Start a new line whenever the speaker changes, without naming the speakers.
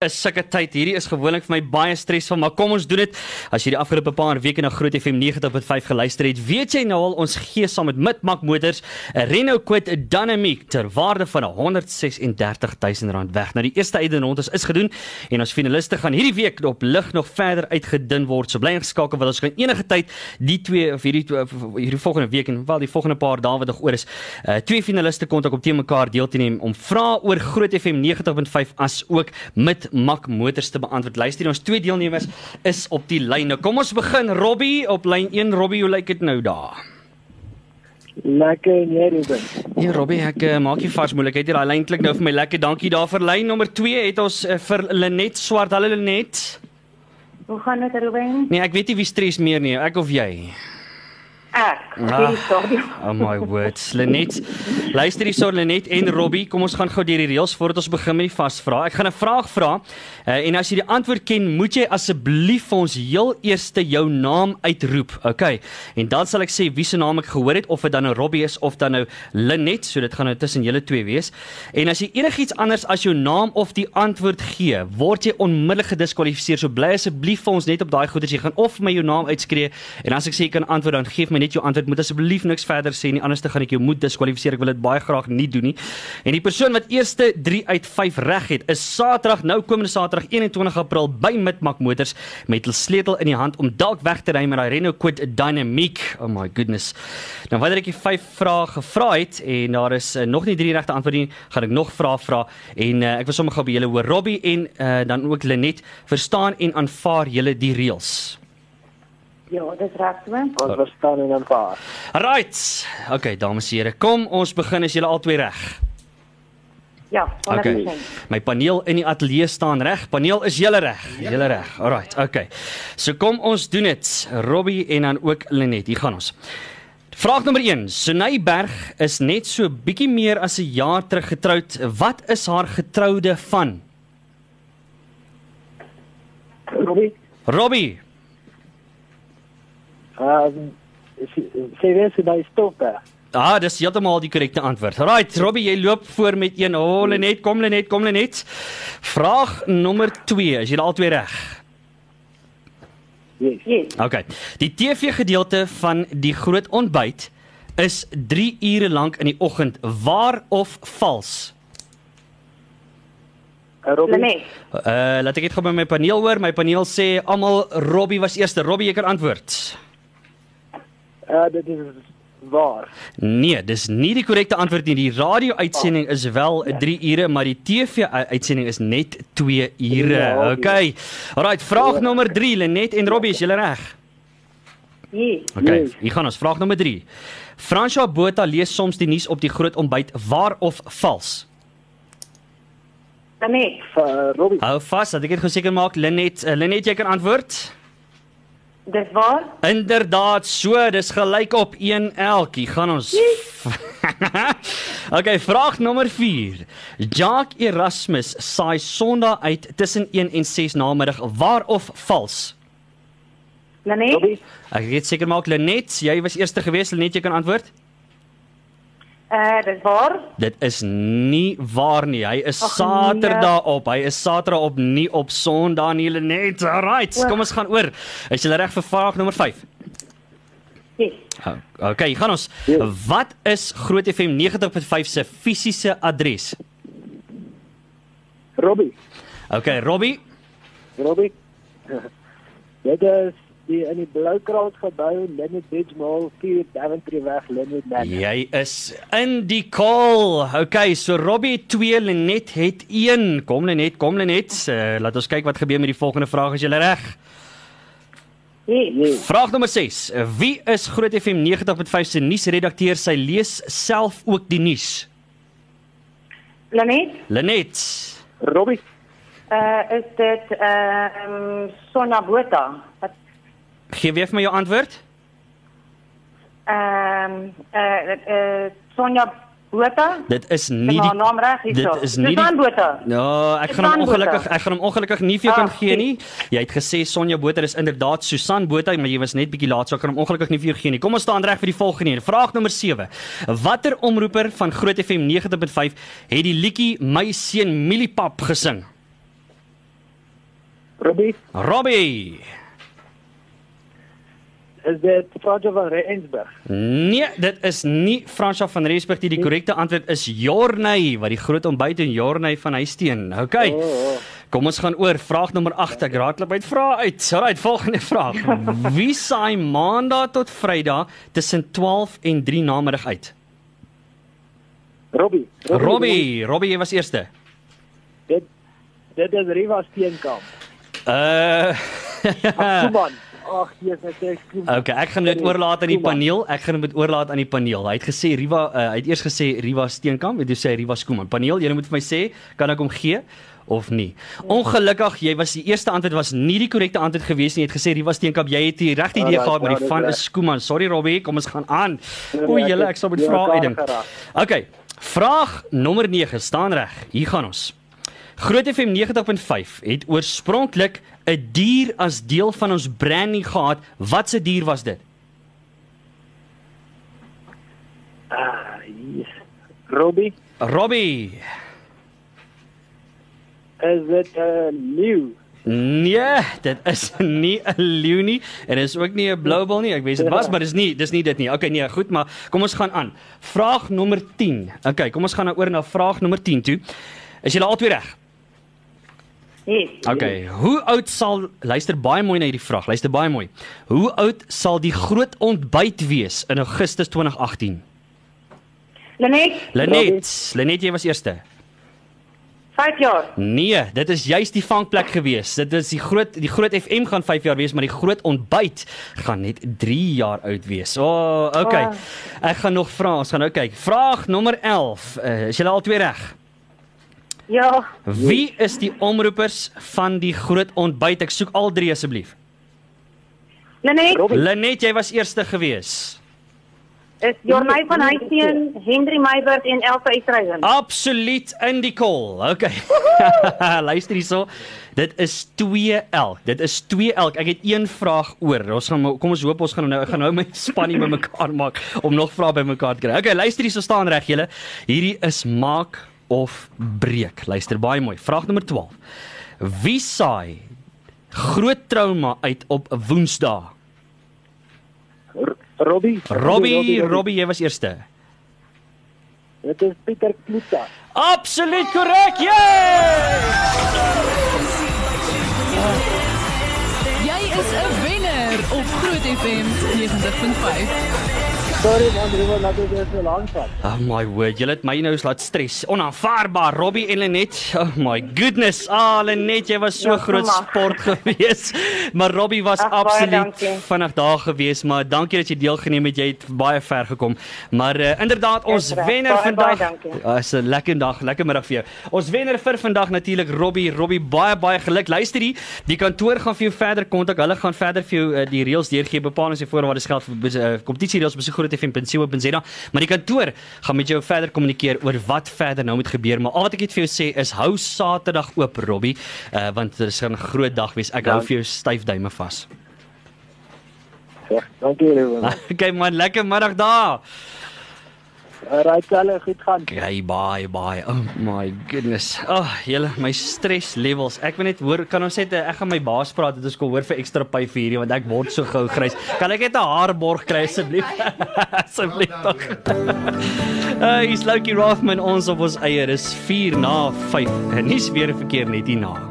is sulke tyd. Hierdie is gewoonlik vir my baie stresvol, maar kom ons doen dit. As jy die afgelope paar weke na Groot FM 90.5 geluister het, weet jy nou al ons gee saam met Midmak Motors 'n Renault Kwid Dynamic ter waarde van R136 000 weg. Nou die eerste uitdenontings is gedoen en ons finaliste gaan hierdie week op lig nog verder uitgedun word. So bly ingeskakel want ons gaan enige tyd die twee of hierdie twee- of hierdie volgende week en wel die volgende paar dae wat nog oor is, uh twee finaliste kontak op te mekaar deel te neem om vrae oor Groot FM 90.5 as ook met Mak Motors te beantwoord. Luister, ons twee deelnemers is op die lyn. Nou kom ons begin Robbie op lyn 1. Robbie, hoe lyk dit nou daar?
Lekker en jy Ruben.
Nee Robbie, ek uh, maak nie vars moeilikheid hier. Daai lyn klink nou vir my lekker. Dankie daarvoor. Lyn nommer 2 het ons uh, vir Lenet Swart. Hallo Lenet.
Hoe gaan dit Ruben?
Nee, ek weet nie wie stres meer nie, ek of jy.
Ek,
Ah.
hierdie stadium.
Oh my word. Lenet, luister hierso Lenet en Robbie, kom ons gaan gou deur die reëls voordat ons begin met die vasvra. Ek gaan 'n vraag vra uh, en as jy die antwoord ken, moet jy asseblief vir ons heel eerste jou naam uitroep. Okay. En dan sal ek sê wie se naam ek gehoor het of dit dan nou Robbie is of dan nou Lenet, so dit gaan nou tussen julle twee wees. En as jy enigiets anders as jou naam of die antwoord gee, word jy onmiddellik gediskwalifiseer. So bly asseblief vir ons net op daai goeders. Jy gaan of my jou naam uitskree en as ek sê jy kan antwoord dan gee vir my net jou antwoord. Moet asseblief niks verder sê nie, anders dan gaan ek jou moet diskwalifiseer. Ek wil dit baie graag nie doen nie. En die persoon wat eerste 3 uit 5 reg het, is Saterdag nou komende Saterdag 21 April by Midmak Motors met hul sleutel in die hand om dalk weg te ry met daai Renault Kwid Dynamic. Oh my goodness. Nou wanneer ek die 5 vrae gevra het en daar is uh, nog nie drie regte antwoorde nie, gaan ek nog vrae vra en uh, ek wil sommer gou by julle hoor Robbie en uh, dan ook Lenet verstaan en aanvaar julle die reëls.
Ja, dis reg Ruben.
Ons verstaan en aanvaar.
Right. Okay, dames en here, kom ons begin as julle albei reg.
Ja, 100%.
Okay.
Okay.
My paneel in die ateljee staan reg. Paneel is julle reg. Julle reg. Alrite. Okay. So kom ons doen dit. Robbie en dan ook Lenet. Hier gaan ons. Vraag nommer 1. Sunay Berg is net so bietjie meer as 'n jaar terug getroud. Wat is haar getroude van?
Robbie,
Robbie.
ehm sê weer sy daai stop daar.
Ah, dis heeltemal die korrekte antwoord. Right, Robbie, jy loop voor met 1. Oh, Lenet, kom Lenet, kom Lenet. Vraag nommer 2. Is julle albei reg?
Yes.
Yes.
OK. Die TV-gedeelte van die groot ontbyt is 3 ure lank in die oggend. Waar of vals?
Uh, Robbie,
Lenet.
Uh laat ek dit gou by my paneel hoor. My paneel sê almal Robbie was eerste. Robbie, jy kan antwoord.
uh, dit is waar.
Nee, dis nie die korrekte antwoord nie. Die radio-uitsending is wel 3 ure, maar die TV-uitsending is net 2 ure.
Ja,
OK. Alrite, vraag nommer 3, Lenet en Robbie, is julle reg?
Yes.
Okay,
Yes.
hier gaan ons vraag nommer 3. Franswa Botha lees soms die nuus op die groot ontbyt waar of vals?
Lenet.
Uh, Robbie,
Hou vas, dat ek dit geseker maak. Linet, uh, Linet jy kan antwoord.
Dis waar?
Inderdaad, so, dis gelyk op 1 elkie. Gaan ons. okay, vraag nommer 4. Jacques Erasmus saai Sondag uit tussen 1 en 6 namiddag waar of vals?
Lenet.
Robbie,
Ek weet seker maak Linet, jy was eerste gewees. Linet, jy kan antwoord.
Uh, dis waar?
Dit is nie waar nie. Hy is
Ag,
Saterdag op. Hy is Saterdag op, nie op Sondag nie, Linet. Alright,
Oeg.
kom ons gaan oor. Is jy reg vir vraag nommer 5?
Yes.
O- Okay, gaan ons.
Ja.
Wat is Groot FM 90.5 se fisiese adres?
Robbie,
Okay, Robbie.
Robbie. dit is die in die blou kraal gebou Leonard Bridge Mall 4 Daventry weg Leonard Manor.
Jy is in die call. Okay, so Robbie het 2, Lenet het 1. Kom Lenet, kom Lenet. Uh, laat ons kyk wat gebeur met die volgende vraag as jy reg.
Yes.
Yes.
Vraag nommer 6. Wie is Groot FM 90.5 se nuusredakteur? Sy lees self ook die nuus.
Lenet.
Lenet.
Robbie,
Uh, is dit ehm um, Sonna Botha? Wat
Gee weer vir my jou antwoord.
ehm um, eh uh, uh, Sonja Botha?
Dit is nie
Dis
die
haar naam reg hierso.
Dit is nie
Susan Botha.
Ja, ek gaan hom
Susan Botha.
ongelukkig ek gaan hom ongelukkig nie vir jou kan
Ah,
gee nie. Jy het gesê Sonja Botha is inderdaad Susan Botha, maar jy was net bietjie laat, so ek kan hom ongelukkig nie vir jou gee nie. Kom ons staan reg vir die volgende een. Vraag nommer 7. Watter omroeper van Groot FM 90.5 het die liedjie My seun Mieliepap gesing?
Robbie,
Robbie.
is dit Fransjo van Rensburg?
Nee, dit is nie Fransja van Rensburg nie. Die korrekte antwoord is Jorney, wat die groot ontbyt in Jorney van Huisteen. Okay.
O, o.
Kom ons gaan oor vraag nommer 8. Ek raadloop uit vrae uit. Alrite, volgende vraag. Wie saai maandag tot Vrydag tussen 12 en 3 namiddag uit?
Robbie.
Robbie, Robbie, jy was eerste.
Dit dit is Riva Steenkamp.
Uh
Kuban. Ag, Jesus, ek sê ek skroom.
Ah. Okay, ek gaan dit oorlaat aan die
Koeman.
paneel. Ek gaan dit oorlaat aan die paneel. Hy het gesê Riva, uh, hy het eers gesê Riva Steenkamp, dit sê hy Riva Skooman. Paneel, julle moet vir my sê, kan ek hom gee of nie? Ongelukkig, jy was die eerste antwoord was nie die korrekte antwoord gewees nie. Jy het gesê Riva Steenkamp, jy het die regte idee
Alright,
gehad, maar
ja,
die
dis
van
reg.
is Skooman. Sorry Robbie, kom ons gaan aan.
Nee,
O,
nee, ek
julle,
het
ek sal met
die
vrae
mekaar
uitdink.
geraak.
Okay, vraag nommer 9 staan reg. Hier gaan ons. Groot FM 90.5 het oorspronklik 'n dier as deel van ons branding gehad. Watse dier was dit?
Ah, yes. Robbie,
Robbie.
is dit 'n uh, leeu?
Nee, dit is nie 'n leeu nie en is ook nie 'n bloubal nie. Ek weet dit was,
Ja.
maar dis nie, dis nie dit nie. Okay, nee, goed, maar kom ons gaan aan. Vraag nommer 10. Okay, kom ons gaan nou oor na vraag nommer 10 toe. Is julle albei reg?
Yes.
Okay, hoe oud sal luister baie mooi na hierdie vraag. Luister baie mooi. Hoe oud sal die groot ontbyt wees in Augustus 2018?
Lenet,
Lenet, Lenet jy was eerste.
5 jaar.
Nee, dit is juis die vangplek gewees. Dit is die groot die groot FM gaan 5 jaar wees, maar die groot ontbyt gaan net 3 jaar oud wees. O, oh, okay.
Ah.
Ek gaan nog vra, ons gaan nou kyk. Vraag nommer 11. Uh, is julle al twee reg?
Ja,
Wie is die omroepers van die groot ontbyt? Ek soek al drie asseblief.
Lenet
Robbie.
Lenet, jy was eerste gewees.
is Jornay van Huisteen, Henry Meiburg en Elsa Isreisen.
Absoluut in die kol. Okay. Luister hierso. Dit is 2 elk. Dit is 2 elk. Ek het een vraag oor. Ons gaan maar- kom ons hoop ons gaan nou ek gaan nou my span nie met mekaar maak om nog vrae by mekaar te kry. Okay, luister hierso staan reg julle. Hierdie is maak of breek. Luister baie mooi. Vraag nommer 12. Wie saai groot trauma uit op 'n Woensdae?
R- Robbie.
Robbie, Robbie, jy was eerste.
Dit is Pieter Kloeta.
Absoluut korrek. Yeah!
Jy is 'n wenner op Groot FM 90.5.
Sorry man, Riva, laat dit net so lank vat.
Oh my word, julle het my nou laat stres. Onaanvaarbaar, Robbie en Lenet. Oh my goodness. Ah, Lenet, jy was so
Ja,
ja, groot
kom maar.
sport gewees. Maar Robbie was Ach,
Ag, baie
absoluut
dankie.
vinnig daar gewees, maar dankie dat jy deelgeneem het. Jy het baie ver gekom. Maar uh, inderdaad, ons
reg.
wenner
Baie, baie
vandag.
dankie.
Ja, is 'n lekker dag, lekker middag vir jou. Ons wenner vir vandag natuurlik Robbie. Robbie, baie baie geluk. Luister hier, die kantoor gaan vir jou verder kontak. Hulle gaan verder vir jou uh, die reëls deurgee, bepalinge en voorwaardes geld vir bes- uh, kompetisiereëls by grootfm.co.za, maar die kantoor gaan met jou verder kommunikeer oor wat verder nou moet gebeur. Maar al wat ek net vir jou sê is hou Saterdag oop, Robbie, uh, want dit is 'n groot dag wees. Ek hou
Dank-
vir jou styf duime vas.
Sê, dankie Riva.
Okay man, lekker middag daar. Ah.
Right, hulle goed gaan.
Hey, bye bye. Oh my goodness. Ag, oh, julle, my stres levels. Ek wil net hoor, kan ons net eh, ek gaan my baas praat dat ons kan hoor vir ekstra pay vir hierdie want ek word so gou grys. Kan ek net 'n haarborg kry asseblief? asseblief tog. Hey, uh, Sloukie Rathman ons op ons eie. Dis 4 na 5. En nie weer verkeer net hierna.